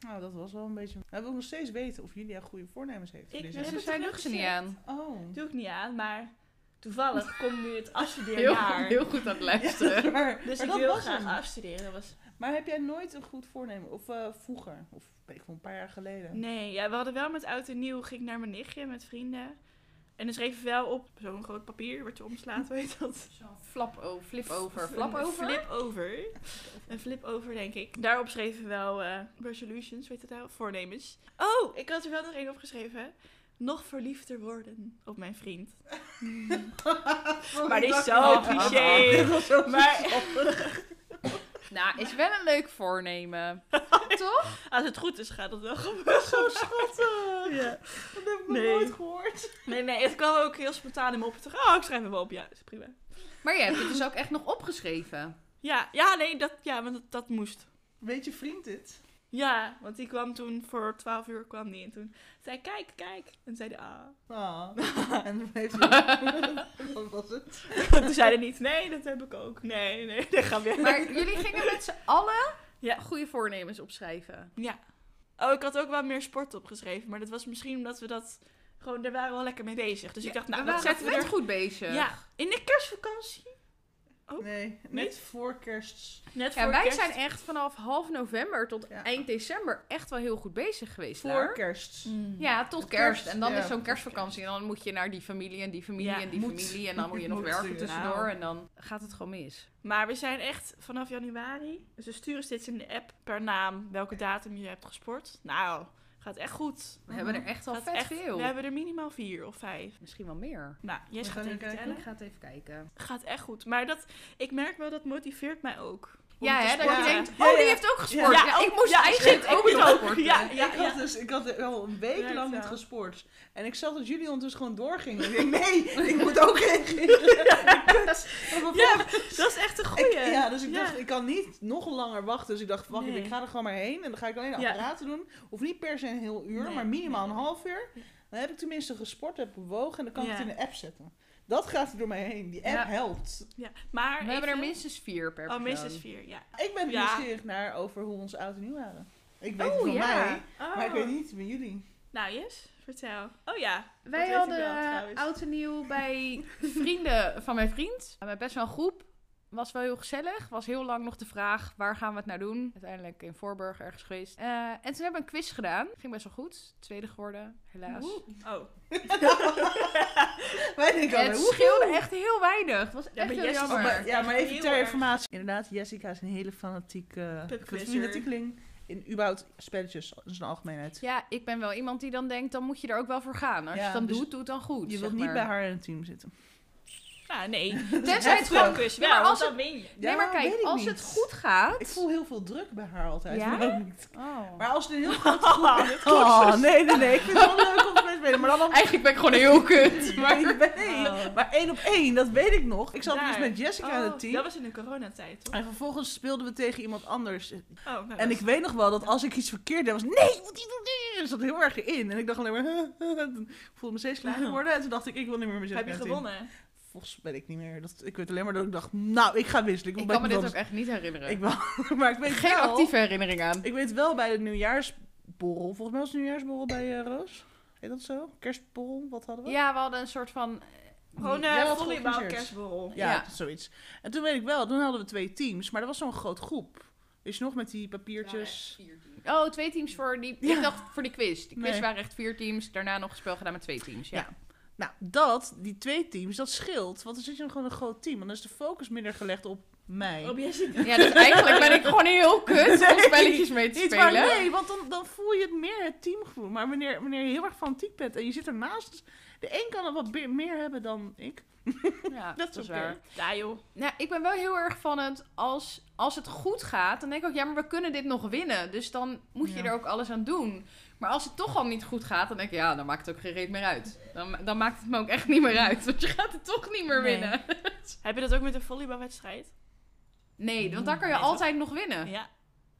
S1: Nou, dat was wel een beetje... Nou, wil ik nog steeds weten of Julia goede voornemens heeft. voor
S2: Ik
S1: dit
S2: heb
S1: jaar.
S3: Ze
S2: het
S3: zijn
S2: toch
S3: lukt ze niet
S2: gezegd?
S3: aan.
S1: Oh.
S2: Doe ik niet aan, maar toevallig komt nu het
S3: Heel,
S2: afstudeerjaar.
S3: heel goed aan het luisteren.
S1: Ja, maar,
S2: Dus
S1: maar
S2: ik
S1: dat
S2: wil
S1: was
S2: graag
S1: hem.
S2: afstuderen. Dat was...
S1: Maar heb jij nooit een goed voornemen? Of eh, vroeger? Of weet ik veel, een paar jaar geleden?
S2: Nee, ja, we hadden wel met oud en nieuw, ging ik naar mijn nichtje met vrienden. En dan schreef we wel op zo'n groot papier, wat je omslaat, weet dat?
S3: Flap over, flip over,
S2: Een
S3: flap over.
S2: Flip over. Een flip over, denk ik. Daarop schreven we wel eh, resolutions, weet je dat wel? Voornemens. Oh, ik had er wel nog één opgeschreven. Nog verliefder worden op mijn vriend. Maar die is zo
S3: dacht-
S2: cliché. Maar
S3: Nou, is wel een leuk voornemen. Toch?
S2: als het goed is, gaat het wel gebeuren.
S1: Oh, Zo schattig!
S2: Ja.
S1: Dat heb ik nog
S2: Nee.
S1: nooit gehoord.
S2: Nee, nee, het kwam ook heel spontaan in me op. Ik dacht, Oh, ik schrijf hem wel op. Ja, is prima.
S3: Maar jij hebt het dus ook echt nog opgeschreven.
S2: Ja, ja nee, dat, ja, want dat, dat moest.
S1: Weet je vriend dit?
S2: Ja, want die kwam toen voor 12 uur kwam die en toen zei kijk, kijk. En zei hij, ah.
S1: Ah. en dan heeft hij... Wat was het?
S2: Toen zei hij niet, nee, dat heb ik ook. Nee, nee, dat gaan weer.
S3: Maar jullie gingen met z'n allen
S2: Ja.
S3: goede voornemens opschrijven.
S2: Ja. Oh, ik had ook wel meer sport opgeschreven, maar dat was misschien omdat we dat gewoon, daar waren we wel lekker mee bezig. Dus ik dacht, nou,
S3: we
S2: dat
S3: waren
S2: zetten we
S3: vet
S2: er.
S3: goed bezig.
S2: Ja, in de kerstvakantie. Oh.
S1: Nee, net voor kerst.
S2: Net
S3: Ja,
S2: voor
S3: wij
S2: kerst.
S3: zijn echt vanaf half november tot
S1: Ja.
S3: eind december echt wel heel goed bezig geweest.
S1: Voor
S3: daar.
S1: kerst.
S2: Mm.
S3: Ja, tot
S1: Tot
S3: kerst.
S1: kerst,
S3: En dan
S1: ja.
S3: is zo'n kerstvakantie. En dan moet je naar die familie en die familie
S2: Ja, Nou.
S3: en die
S1: moet.
S3: familie. En dan moet je nog
S1: Moet,
S3: werken
S1: inderdaad.
S3: tussendoor. En dan gaat het gewoon mis.
S2: Maar we zijn echt vanaf januari. Dus we sturen steeds in de app per naam welke datum je hebt gesport. Nou, gaat echt goed.
S3: We hebben er echt al
S2: Gaat
S3: vet
S2: echt-
S3: veel.
S2: We hebben er minimaal vier of vijf.
S3: Misschien wel meer.
S2: Nou, Jess
S1: We
S2: gaat
S1: gaan
S2: even
S1: even kijken.
S2: vertellen.
S3: Ik ga het even kijken.
S2: Gaat echt goed. Maar dat, ik merk wel, dat motiveert mij ook. om
S3: Ja,
S2: te
S3: hè, dat je
S2: sporten.
S3: denkt, oh,
S1: Ja, ja.
S3: die heeft ook gesport. Ja,
S2: Ja, ook-
S3: ik moest
S2: ja, ik
S3: eigenlijk
S2: zit- ik
S3: ook
S2: moet
S3: nog
S2: ook.
S3: sporten.
S2: Ja.
S1: ik, had dus, ik had al een week
S2: Werkt
S1: lang niet
S2: wel.
S1: gesport. En ik zag dat jullie ondertussen gewoon doorgingen. Ik denk, nee, ik moet ook reageren. Kut. Maar
S2: Ja, dat is echt een
S1: ik-
S2: goeie.
S1: ja, dus ik
S2: Ja.
S1: dacht, ik kan niet nog langer wachten. Dus ik dacht, wacht,
S2: Nee.
S1: ik ga er gewoon maar heen. En dan ga ik alleen de
S2: Ja.
S1: apparaten doen. Of niet per se een heel uur,
S2: Nee,
S1: maar minimaal
S2: nee.
S1: een half uur.
S2: Ja.
S1: Dan heb ik tenminste gesport, heb bewogen. En dan kan ik
S2: Ja.
S1: het in de app zetten. Dat gaat er door mij heen. Die app
S3: Ja.
S1: helpt.
S2: Ja, maar
S3: We hebben er
S2: even-
S3: minstens vier per
S2: Oh,
S3: persoon.
S2: minstens vier, ja.
S1: Ik ben
S2: Ja.
S1: nieuwsgierig naar over hoe ons oud en nieuw waren. Ik weet het
S3: Oh,
S1: van
S3: ja.
S1: mij,
S2: Oh.
S1: maar ik weet niet van jullie.
S2: Nou, Jess, vertel. Oh ja.
S3: Wij
S2: weet ik
S3: hadden
S2: wel,
S3: eh,
S2: trouwens.
S3: oud en nieuw bij vrienden van mijn vriend. We hebben eh, best wel een groep. Was wel heel gezellig. Was heel lang nog de vraag, waar gaan we het nou doen? Uiteindelijk in Voorburg ergens geweest. Eh, en toen hebben we een quiz gedaan. Ging best wel goed. Tweede geworden, helaas.
S2: Oh,
S1: Wij denken
S3: het
S1: altijd, woe.
S3: scheelde echt heel weinig. Het was echt
S2: maar
S3: heel
S2: Jesse is
S3: jammer.
S2: ook-
S1: Oh, Maar, ja, maar even
S2: Heel
S1: ter
S2: erg.
S1: informatie. Inderdaad, Jessica is een hele fanatieke
S2: Pubquizzer.
S1: fanatiekeling. In überhaupt spelletjes in zijn algemeenheid.
S3: Ja, ik ben wel iemand die dan denkt, dan moet je er ook wel voor gaan. Als je
S1: Ja,
S3: het dan
S1: dus
S3: doet, doe het dan goed.
S1: Je
S3: zeg
S1: wilt niet
S3: maar.
S1: bij haar in het team zitten.
S2: ja, Nou, nee.
S3: Tenzij het gewoon...
S2: Focus
S3: Ja,
S2: wel,
S3: maar
S2: want
S3: als
S2: dan win je.
S3: Nee, maar kijk,
S1: weet ik
S3: als
S1: niet.
S3: het goed gaat...
S1: Ik voel heel veel druk bij haar altijd.
S3: Ja?
S1: Waarom niet?
S3: Oh.
S1: Maar als het een heel grote groep is... Oh, nee, nee, nee. Ik vind het wel leuk om te spelen. Maar dan nog
S3: Eigenlijk ben ik gewoon heel kut. Maar...
S1: Nee, nee.
S3: Oh.
S1: Maar één op één, dat weet ik nog. Ik zat
S2: Daar.
S1: dus met Jessica in het
S2: Oh,
S1: team.
S2: dat was in de coronatijd, toch?
S1: En vervolgens speelden we tegen iemand anders.
S2: Oh, nou, dat
S1: En
S2: is-
S1: ik weet nog wel dat als ik iets verkeerd deed, was nee, moet die doen. Er zat heel erg in. En ik dacht alleen maar, ik voelde me steeds
S3: Oh.
S1: kleiner worden. En toen dacht ik, ik wil niet meer met Jessica
S2: heb je
S1: in het team.
S2: gewonnen?
S1: Volgens ben ik niet meer. Dat, ik weet alleen maar dat ik dacht, nou, ik ga wisselen.
S3: Ik
S1: wil
S3: kan me
S1: bij
S3: dit ook
S1: iemand
S3: echt niet herinneren.
S1: anders. Ik wou, maar ik weet
S3: Geen
S1: wel,
S3: actieve herinnering aan.
S1: Ik weet wel bij de nieuwjaarsborrel. Volgens mij was het nieuwjaarsborrel bij eh, Roos. Heet dat zo? Kerstborrel? Wat eh, hadden we?
S3: Ja, we hadden een soort van... eh,
S2: Gewoon
S1: Jij
S2: een
S1: had
S2: volleybal
S1: georganiseerd.
S2: kerstborrel.
S1: Ja,
S3: Ja.
S1: zoiets. En toen weet ik wel, toen hadden we twee teams, maar dat was zo'n groot groep. Is je nog met die papiertjes?
S3: Oh, twee teams voor die...
S1: Ja.
S3: Ik dacht voor die quiz. Die quiz
S1: Nee.
S3: waren echt vier teams. Daarna nog een spel gedaan met twee teams. Ja.
S1: Ja. Nou, dat, die twee teams, dat scheelt. Want dan zit je dan gewoon een groot team. En dan is de focus minder gelegd op mij.
S2: Op Oh, Jessica.
S3: Ja, dus eigenlijk ben ik gewoon heel kut om
S1: Nee,
S3: spelletjes mee te
S1: Niet waar,
S3: spelen.
S1: nee, want dan, dan voel je het meer het teamgevoel. Maar wanneer, wanneer je heel erg fanatiek bent en je zit ernaast, dus de een kan het wat be- meer hebben dan ik.
S3: Ja,
S1: Dat is oké.
S2: Ja, joh.
S3: Nou, ik ben wel heel erg van het als, als het goed gaat, dan denk ik ook, ja, maar we kunnen dit nog winnen. Dus dan moet je
S1: Ja.
S3: er ook alles aan doen. Maar als het toch al niet goed gaat, dan denk ik, ja, dan maakt het ook geen reet meer uit. Dan, dan maakt het me ook echt niet meer uit, want je gaat het toch niet meer
S1: Nee.
S3: winnen.
S2: Heb je dat ook met een volleybalwedstrijd?
S3: Nee, want dan kan je
S2: Nee, toch?
S3: altijd nog winnen.
S2: Ja.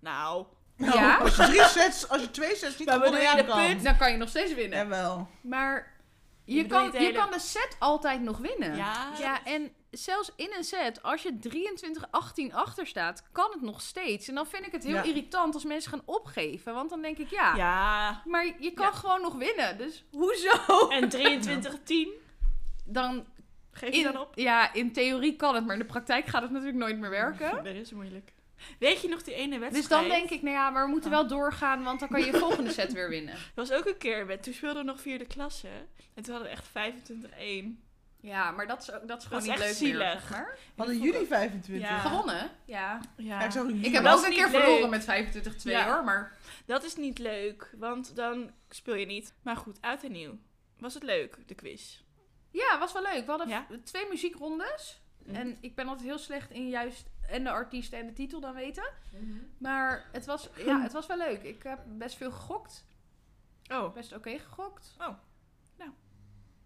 S2: Nou.
S3: Ja?
S1: Als je drie sets, als je twee sets niet
S2: Maar
S1: gewonnen
S2: bedoel je
S1: hebt,
S2: de
S1: dan-
S2: punt?
S3: Dan kan je nog steeds winnen.
S1: Jawel.
S3: Maar je,
S2: bedoelt
S3: kan,
S2: niet de
S3: je
S2: hele-
S3: kan de set altijd nog winnen.
S2: Ja.
S3: Ja, en zelfs in een set, als je 23-18 achter staat, kan het nog steeds. En dan vind ik het heel
S1: Ja.
S3: irritant als mensen gaan opgeven. Want dan denk ik, ja,
S2: Ja.
S3: maar je kan
S2: Ja.
S3: gewoon nog winnen. Dus hoezo?
S2: En 23-10.
S3: Dan
S2: Geef je
S3: in,
S2: dan op?
S3: ja, in theorie kan het, maar in de praktijk gaat het natuurlijk nooit meer werken.
S2: Dat is moeilijk. Weet je nog die ene wedstrijd?
S3: Dus dan denk ik, nou ja, maar we moeten wel doorgaan, want dan kan je de volgende set weer winnen.
S2: Er was ook een keer, met, toen speelden we nog vierde klasse. En toen hadden we echt 25-1.
S3: Ja, maar dat is, ook- dat is gewoon
S2: is
S3: niet leuk
S2: echt
S3: meer,
S2: zielig.
S3: zeg maar.
S1: Hadden jullie 25?
S2: Ja.
S3: Gewonnen? Ja.
S2: Ja.
S1: Ja, ik zag ook
S3: Ik heb
S2: dat
S3: ook
S2: is
S3: een keer
S2: niet leuk.
S3: verloren met 25-2
S2: Ja.
S3: hoor, maar
S2: Dat is niet leuk, want dan speel je niet. Maar goed, oud en nieuw. Was het leuk, de quiz?
S3: ja, Mhm. was wel leuk. We hadden
S2: Ja.
S3: v- twee muziekrondes. En ik ben altijd heel slecht in juist en de artiest en de titel dan weten. Maar het was, ja, het was wel leuk. Ik heb best veel gegokt.
S2: Oh,
S3: Best oké gegokt.
S2: Oh, nou.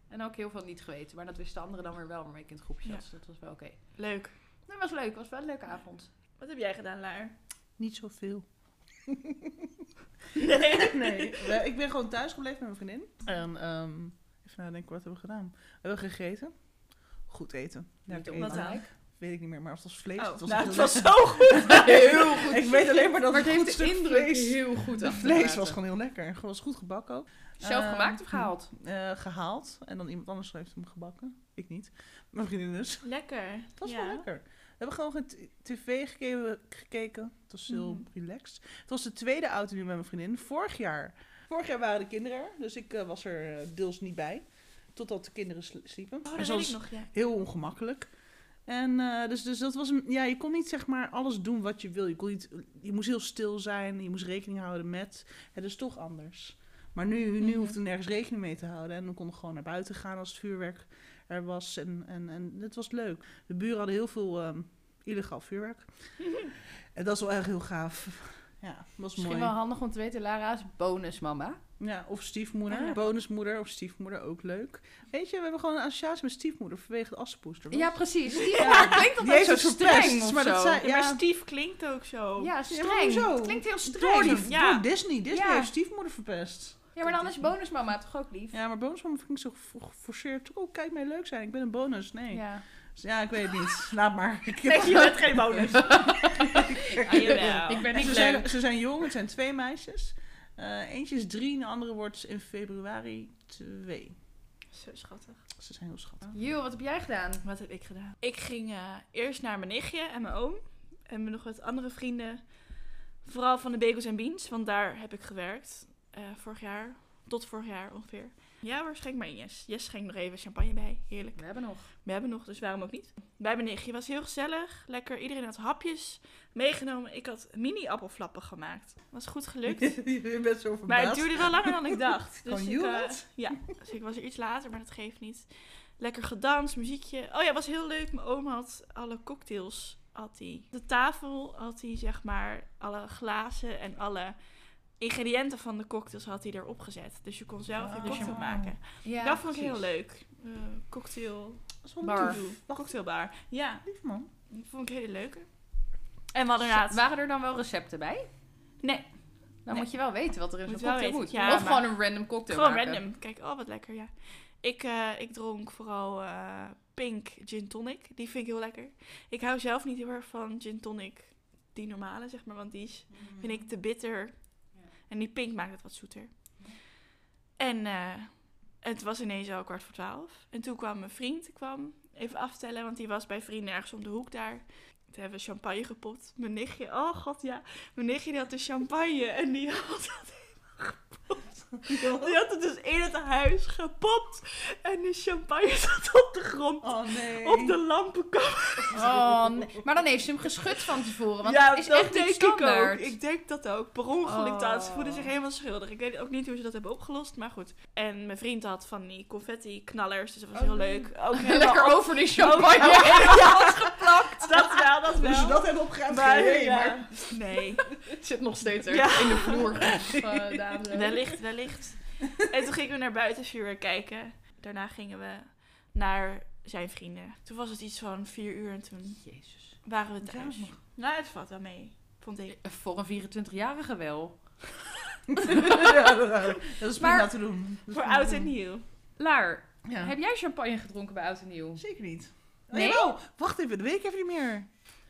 S3: En ook heel veel niet geweten. Maar dat wisten de anderen dan weer wel, waarmee ik in het groepje
S2: Ja.
S3: zat. Dus dat was wel oké.
S2: leuk.
S3: Dat was leuk. was wel een leuke avond.
S2: Wat heb jij gedaan, Laar?
S1: Niet zoveel.
S2: Nee.
S1: Nee, we- ik ben gewoon thuis gebleven met mijn vriendin. En ehm, even nadenken, wat hebben we gedaan? We hebben gegeten. Goed eten.
S3: Niet
S1: Lekker
S3: omdat
S1: eten.
S2: dan?
S3: ik-
S1: Weet ik niet meer, maar het was vlees.
S2: Oh,
S1: het was,
S2: nou,
S1: echt
S2: het
S1: heel
S2: was zo goed.
S1: lekker.
S3: Heel goed.
S1: Ik weet alleen maar dat
S3: maar
S1: het goed
S3: heeft de
S1: stuk
S3: indruk
S1: vlees...
S3: heel goed
S1: Het vlees was gewoon heel lekker. En het was goed gebakken ook.
S3: Zelf
S1: Eh,
S3: gemaakt of gehaald?
S1: eh, gehaald. En dan iemand anders heeft hem gebakken. Ik niet. Mijn vriendin dus.
S2: Lekker.
S1: Het was
S2: Ja. Oh,
S1: wel lekker. We hebben gewoon geen t- tv gekeken, gekeken. Het was heel
S2: Mhm.
S1: relaxed. Het was de tweede auto nu met mijn vriendin. Vorig jaar. Vorig jaar waren de kinderen er. Dus ik eh, was er eh, deels niet bij. Totdat de kinderen sl- sliepen.
S2: Oh,
S1: En
S2: dat
S1: ze was
S2: weet ik nog, ja.
S1: heel ongemakkelijk. En eh, dus, dus dat was een. Ja, je kon niet zeg maar alles doen wat je wil. Je, kon niet, je moest heel stil zijn. Je moest rekening houden met. Het is toch anders. Maar nu, nu
S3: Mhm.
S1: hoefde we nergens rekening mee te houden. En we konden gewoon naar buiten gaan als het vuurwerk er was. En, en, en het was leuk. De buren hadden heel veel ehm, illegaal vuurwerk. en dat is wel echt heel gaaf. Ja, dat was
S3: Misschien
S1: mooi.
S3: wel handig om te weten. Lara is bonusmama.
S1: Ja, of stiefmoeder.
S2: Ah, ja.
S1: Bonusmoeder of stiefmoeder, ook leuk. Weet je, we hebben gewoon een associatie met stiefmoeder vanwege de assenpoester.
S3: Ja, precies. Die ja. klinkt
S1: Die heeft
S3: altijd zo
S1: het verpest,
S3: streng of
S1: maar dat
S3: zo.
S1: zei-
S2: Ja,
S1: Ja.
S2: Maar Steve klinkt ook zo.
S3: Ja,
S1: maar
S3: streng.
S1: hoezo?
S3: het klinkt heel
S1: Door,
S3: streng.
S1: die,
S2: Ja.
S1: door Disney. Disney
S3: Ja.
S1: heeft stiefmoeder verpest.
S3: Ja, maar dan is bonusmama toch ook lief?
S1: Ja, maar bonusmama vind ik zo ge- geforceerd. Oh, kijk mij leuk zijn. Ik ben een bonus. Nee. Dus Ja,
S3: Ja.
S1: ik weet het niet. Laat maar. Ik heb-
S2: Nee, je bent geen bonus. Ah, jawel.
S3: Ik
S1: En
S3: ben niet
S1: ze,
S3: leuk.
S1: zijn, ze zijn jong. Het zijn twee meisjes. Eh, eentje is drie en de andere wordt in februari twee.
S2: Zo schattig.
S1: Ze zijn heel schattig.
S3: Jules, wat heb jij gedaan?
S2: Wat heb ik gedaan? Ik ging eh, eerst naar mijn nichtje en mijn oom. En nog wat andere vrienden. Vooral van de Bagels en Beans, want daar heb ik gewerkt. eh, vorig jaar, tot vorig jaar ongeveer. Ja, waar schenk maar in Jess. Jess schenkt nog even champagne bij. Heerlijk.
S3: We hebben nog.
S2: We hebben nog, dus waarom ook niet? Bij mijn nichtje was heel gezellig. Lekker, iedereen had hapjes meegenomen. Ik had mini-appelflappen gemaakt. Was goed gelukt.
S1: je bent zo
S2: Maar het
S1: verbaasd.
S2: duurde wel langer dan ik dacht.
S1: Gewoon,
S2: Dus ik,
S1: "You
S2: eh,
S1: what?"
S2: ja, dus ik was er iets later, maar dat geeft niet. Lekker gedanst, muziekje. Oh ja, het was heel leuk. Mijn oom had alle cocktails. Had hij. De tafel had hij, zeg maar, alle glazen en alle ingrediënten van de cocktails had hij erop gezet. Dus je kon zelf je
S1: Ah.
S2: cocktail maken.
S3: Ja,
S2: dat vond ik
S3: precies.
S2: heel leuk. Eh, cocktail.
S1: Zonder
S3: Bar.
S1: to-do. Wacht,
S2: Cocktailbar. Ja,
S1: lief man.
S2: dat vond ik een hele leuke. En we hadden inderdaad...
S3: Waren er dan wel recepten bij?
S2: Nee,
S3: Dan
S2: Nee.
S3: moet je wel weten wat er in
S2: Moet
S3: zo'n
S2: je wel
S3: cocktail
S2: weten,
S3: moet.
S2: ja,
S3: of
S2: maar-
S3: gewoon een random cocktail
S2: Gewoon
S3: maken.
S2: random. Kijk, oh wat lekker, ja. Ik, eh, ik dronk vooral eh, pink gin tonic. Die vind ik heel lekker. Ik hou zelf niet heel erg van gin tonic, die normale zeg maar, want die is, Mm. vind ik te bitter. En die pink maakt het wat zoeter. En eh, het was ineens al kwart voor twaalf. En toen kwam mijn vriend kwam even aftellen, want die was bij vrienden ergens om de hoek daar. Toen hebben we champagne gepopt. Mijn nichtje, oh god ja. Mijn nichtje die had de champagne en die had die had het dus in het huis gepopt. En de champagne zat op de grond.
S1: Oh nee.
S2: Op de lampenkap.
S3: Oh, nee. Maar dan heeft ze hem geschud van tevoren. Want dat is echt niet
S2: denk ik ook.
S3: standaard.
S2: Ik denk dat ook. Per ongeluk dat. Ze
S3: Oh.
S2: voelden zich helemaal schuldig. Ik weet ook niet hoe ze dat hebben opgelost, maar goed. En mijn vriend had van die confetti-knallers, dus dat was
S1: Oh,
S2: heel
S1: nee.
S2: leuk. Ook
S3: Lekker
S2: op Oh,
S3: over die champagne.
S2: geplakt. Dat wel, dat
S1: Hoe
S2: wel.
S1: ze dat hebben opgeruimd,
S2: maar,
S1: geen idee,
S2: ja.
S1: maar-
S2: Nee,
S3: Het zit nog steeds
S2: Ja.
S3: in de vloer. eh, dames.
S2: wellicht, wellicht. En toen gingen we naar buiten vuur kijken. Daarna gingen we naar zijn vrienden. Toen was het iets van vier uur en toen
S3: Jezus.
S2: waren we
S1: Ja,
S2: thuis.
S1: nog.
S2: nou, het valt wel mee, vond ik.
S3: Voor een 24-jarige wel.
S1: Ja, dat is prima
S3: Maar-
S1: te doen. Dat is
S2: Voor
S1: prima
S2: oud
S1: te
S2: en
S1: doen.
S2: nieuw.
S3: Laar,
S1: Ja.
S3: heb jij champagne gedronken bij Oud en Nieuw?
S1: Zeker niet.
S3: Nee?
S1: Nee? Oh, wacht even, dat weet ik even niet meer.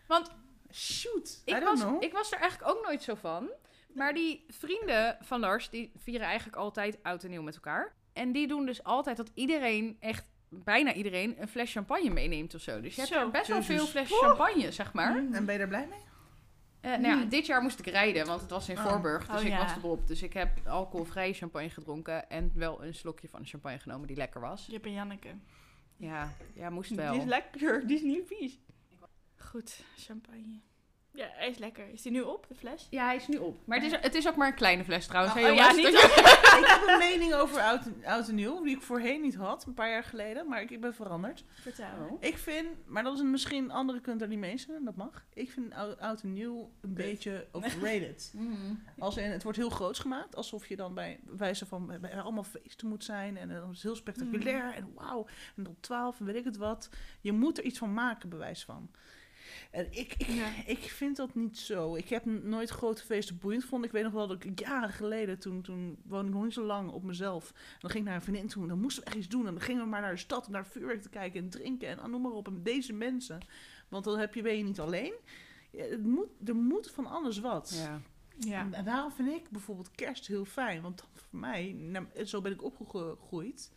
S3: Want-
S1: Shoot, I
S3: Ik
S1: don't
S3: was,
S1: know.
S3: ik was er eigenlijk ook nooit zo van. Maar die vrienden van Lars, die vieren eigenlijk altijd oud en nieuw met elkaar. En die doen dus altijd dat iedereen, echt bijna iedereen, een fles champagne meeneemt of zo. Dus je hebt
S2: Zo,
S3: er best wel
S1: Jezus. Mm.
S3: veel fles champagne, zeg maar.
S1: En ben je daar blij mee?
S3: Eh, nou ja, dit jaar moest ik rijden, want het was in
S1: Oh.
S3: Voorburg. Dus
S2: Oh,
S3: ik
S2: ja.
S3: was erop. Dus ik heb alcoholvrije champagne gedronken. En wel een slokje van de champagne genomen die lekker was.
S2: Jip en Janneke.
S3: Ja, ja moest
S2: Die is
S3: wel.
S2: lekker, die is niet vies. Goed, champagne. Ja, hij is lekker. Is die nu op, de fles?
S3: Ja, hij is nu op. Maar het is, het is ook maar een kleine fles trouwens.
S1: Oh,
S3: hè,
S2: oh ja,
S3: jongens?
S2: niet
S3: Dus-
S1: ik heb een mening over oud en, oud en nieuw, die ik voorheen niet had, een paar jaar geleden, maar ik, ik ben veranderd.
S2: Vertel.
S3: Oh.
S1: Ik vind, maar dat is een- misschien, anderen kunnen er niet mee eens zijn, dat mag. Ik vind oud, oud en nieuw een beetje overrated.
S3: Mm.
S1: Als in, het wordt heel groots gemaakt, alsof je dan bij wijze van bij allemaal feesten moet zijn en dan is het heel spectaculair
S3: Mm.
S1: en wauw en tot twaalf en weet ik het wat. Je moet er iets van maken, bewijs van. En ik, ik,
S2: Ja.
S1: ik vind dat niet zo. Ik heb n- nooit grote feesten boeiend gevonden. Ik weet nog wel dat ik jaren geleden, toen, toen woonde ik nog niet zo lang op mezelf. En dan ging ik naar een vriendin toe en dan moesten we echt iets doen. En dan gingen we maar naar de stad om naar vuurwerk te kijken en drinken en ah, noem maar op. En deze mensen. Want dan heb je, ben je niet alleen. Ja, het moet, er moet van alles wat.
S3: Ja.
S2: Ja.
S1: En daarom vind ik bijvoorbeeld kerst heel fijn. Want dan voor mij, nou, zo ben ik opgegroeid.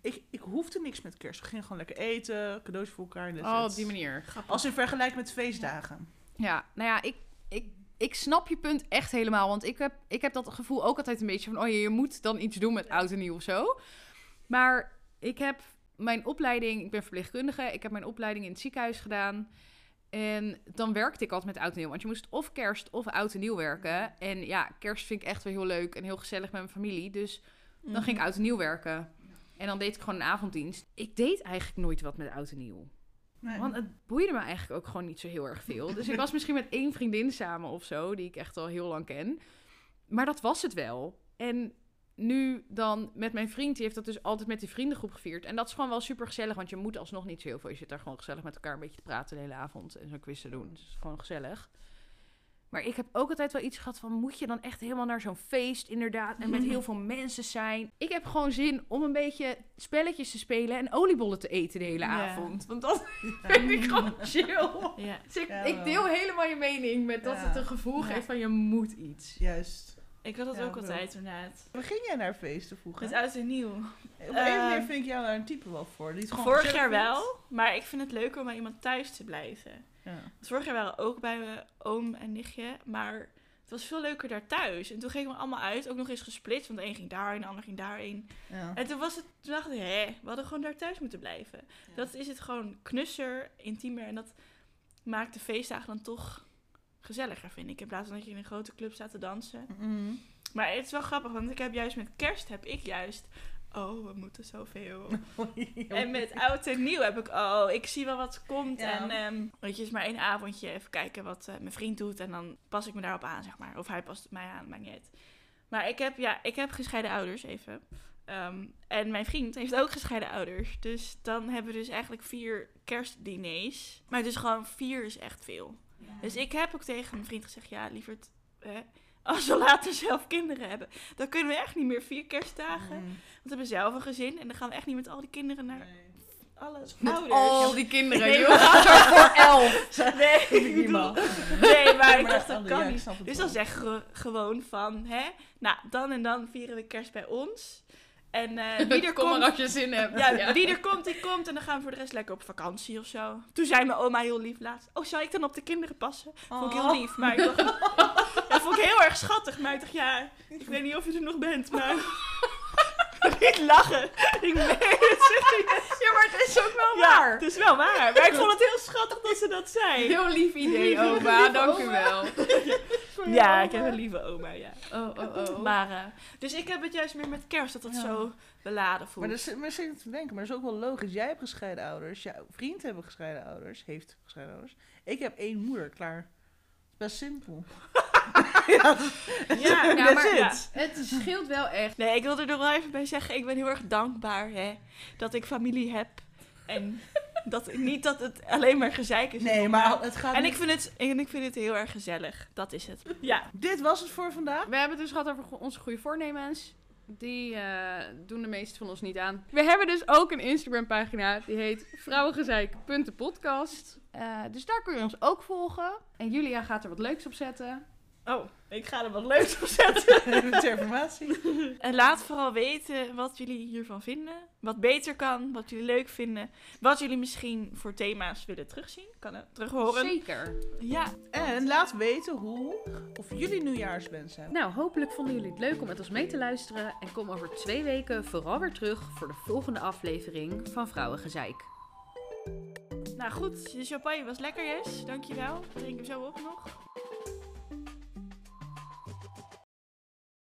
S1: Ik, ik hoefde niks met kerst. We gingen gewoon lekker eten, cadeaus voor elkaar. en that's
S3: Oh,
S1: it.
S3: op die manier.
S1: Als in vergelijking met feestdagen.
S3: Ja, nou ja, ik, ik, ik snap je punt echt helemaal. Want ik heb, ik heb dat gevoel ook altijd een beetje van... oh je, je moet dan iets doen met oud en nieuw of zo. Maar ik heb mijn opleiding... ik ben verpleegkundige. Ik heb mijn opleiding in het ziekenhuis gedaan. En dan werkte ik altijd met oud en nieuw. Want je moest of kerst of oud en nieuw werken. En ja, kerst vind ik echt wel heel leuk en heel gezellig met mijn familie. Dus dan ging ik oud en nieuw werken. En dan deed ik gewoon een avonddienst. Ik deed eigenlijk nooit wat met oud en nieuw.
S1: Nee.
S3: Want het boeide me eigenlijk ook gewoon niet zo heel erg veel. Dus ik was misschien met één vriendin samen of zo, die ik echt al heel lang ken. Maar dat was het wel. En nu dan met mijn vriend, die heeft dat dus altijd met die vriendengroep gevierd. En dat is gewoon wel super gezellig, want je moet alsnog niet zo heel veel. Je zit daar gewoon gezellig met elkaar een beetje te praten de hele avond en zo'n quiz te doen. Dus het is gewoon gezellig. Maar ik heb ook altijd wel iets gehad van, moet je dan echt helemaal naar zo'n feest inderdaad en met heel veel mensen zijn? Ik heb gewoon zin om een beetje spelletjes te spelen en oliebollen te eten de hele
S2: Ja.
S3: avond. Want dat vind ik gewoon chill.
S2: Nou, Ja.
S3: Dus ik,
S1: Ja,
S3: ik
S1: wel.
S3: deel helemaal je mening met dat
S1: Ja.
S3: het een gevoel
S2: Ja.
S3: geeft van je moet iets.
S1: Juist.
S2: Ik had dat
S1: Ja,
S2: ook
S1: wel.
S2: altijd, inderdaad.
S1: Waar ging jij naar feesten vroeger?
S2: Met oud en nieuw.
S1: Op een of andere manier
S2: Eh,
S1: vind ik jou daar een type wel voor. Die het gewoon
S2: Vorig
S1: gezellig
S2: jaar
S1: vindt.
S2: wel, maar ik vind het leuker om bij iemand thuis te blijven.
S1: Ja.
S2: Want vorig jaar waren we ook bij mijn oom en nichtje, maar het was veel leuker daar thuis. En toen gingen we allemaal uit, ook nog eens gesplitst, want de een ging daarheen, de ander ging daarheen.
S1: Ja.
S2: En toen, was het, toen dacht ik, hè, we hadden gewoon daar thuis moeten blijven. Dat is het gewoon knusser, intiemer en dat maakt de feestdagen dan toch gezelliger, vind ik. In plaats van dat je in een grote club staat te dansen.
S1: Mm.
S2: Maar het is wel grappig, want ik heb juist met kerst, heb ik juist, oh, we moeten zoveel. En met oud en nieuw heb ik, oh, ik zie wel wat komt.
S1: Ja.
S2: En ehm weet je, is maar één avondje even kijken wat eh, mijn vriend doet. En dan pas ik me daarop aan, zeg maar. Of hij past mij aan, maakt niet uit. Maar ik heb, ja, ik heb gescheiden ouders even. Ehm, en mijn vriend heeft ook gescheiden ouders. Dus dan hebben we dus eigenlijk vier kerstdiners. Maar dus gewoon vier is echt veel. Dus ik heb ook tegen mijn vriend gezegd, ja, lieverd, hè, als we later zelf kinderen hebben, dan kunnen we echt niet meer vier kerstdagen.
S1: Mm.
S2: Want we hebben zelf een gezin en dan gaan we echt niet met al die kinderen naar
S1: Nee.
S2: alle
S3: Met
S2: ouders.
S3: al die kinderen,
S2: Nee,
S3: joh. Zorg voor elf.
S2: Nee,
S1: Vind ik
S2: ik
S1: niet
S2: bedoel-
S1: mal.
S2: nee, maar
S1: Nee,
S2: ik
S1: dat
S2: dacht, dat
S1: andere,
S2: kan
S1: ja, ik
S2: niet.
S1: snap het
S2: Dus
S1: wel.
S2: dan zeggen we gewoon van, hè, nou, dan en dan vieren we kerst bij ons. En eh, wie er
S3: Kom maar
S2: komt,
S3: als je zin hebt.
S2: ja, wie er komt, die komt. En dan gaan we voor de rest lekker op vakantie of zo. Toen zei mijn oma heel lief laatst, oh, zou ik dan op de kinderen passen? Vond
S1: Oh.
S2: ik heel lief, maar ik dacht, ja, vond ik heel erg schattig. Maar ik dacht, ja, ik weet niet of je er nog bent, maar... niet lachen. Ik meen het serieus.
S3: Ja, maar het is ook wel
S2: Ja, het is wel waar. Maar ik vond het heel schattig dat ze dat zei.
S3: Heel lief idee,
S1: Lieve,
S3: oma.
S1: lieve
S3: Dank u
S1: oma.
S3: wel.
S1: Sorry,
S2: Ja,
S1: mama.
S2: ik heb een lieve oma, ja.
S3: Oh, oh, oh.
S2: Maar, eh, dus ik heb het juist meer met kerst, dat het
S1: Ja.
S2: zo beladen voelt.
S1: Maar dat is, maar zit ik te denken, maar dat is ook wel logisch. Jij hebt gescheiden ouders, jouw vriend heeft gescheiden ouders, heeft gescheiden ouders. Ik heb één moeder, klaar. Best simpel.
S2: ja, nou,
S3: Ja,
S2: dat
S3: maar-
S2: is
S3: ja.
S2: het.
S3: Het scheelt wel echt.
S2: Nee, ik wil er nog wel even bij zeggen, ik ben heel erg dankbaar hè, dat ik familie heb. En dat, niet dat het alleen maar gezeik is.
S1: Nee, maar het gaat
S2: En
S1: niet-
S2: ik, vind het, en ik vind het heel erg gezellig, dat is het. Ja.
S1: Dit was het voor vandaag.
S3: We hebben het dus gehad over go- onze goede voornemens. Die eh, doen de meeste van ons niet aan. We hebben dus ook een Instagram-pagina. Die heet vrouwengezeik.podcast. Eh dus daar kun je ons ook volgen. En Julia gaat er wat leuks op zetten.
S2: Oh, ik ga er wat leuks op zetten.
S1: Ter informatie.
S2: En laat vooral weten wat jullie hiervan vinden. Wat beter kan, wat jullie leuk vinden. Wat jullie misschien voor thema's willen terugzien. Kan ook terughoren.
S3: Zeker.
S2: Ja.
S1: En laat weten hoe of jullie nieuwjaarswens zijn.
S3: Nou, hopelijk vonden jullie het leuk om met ons mee te luisteren. En kom over twee weken vooral weer terug voor de volgende aflevering van Vrouwengezeik.
S2: Nou goed, de champagne was lekker, Jess. Dankjewel. Drink hem zo op nog.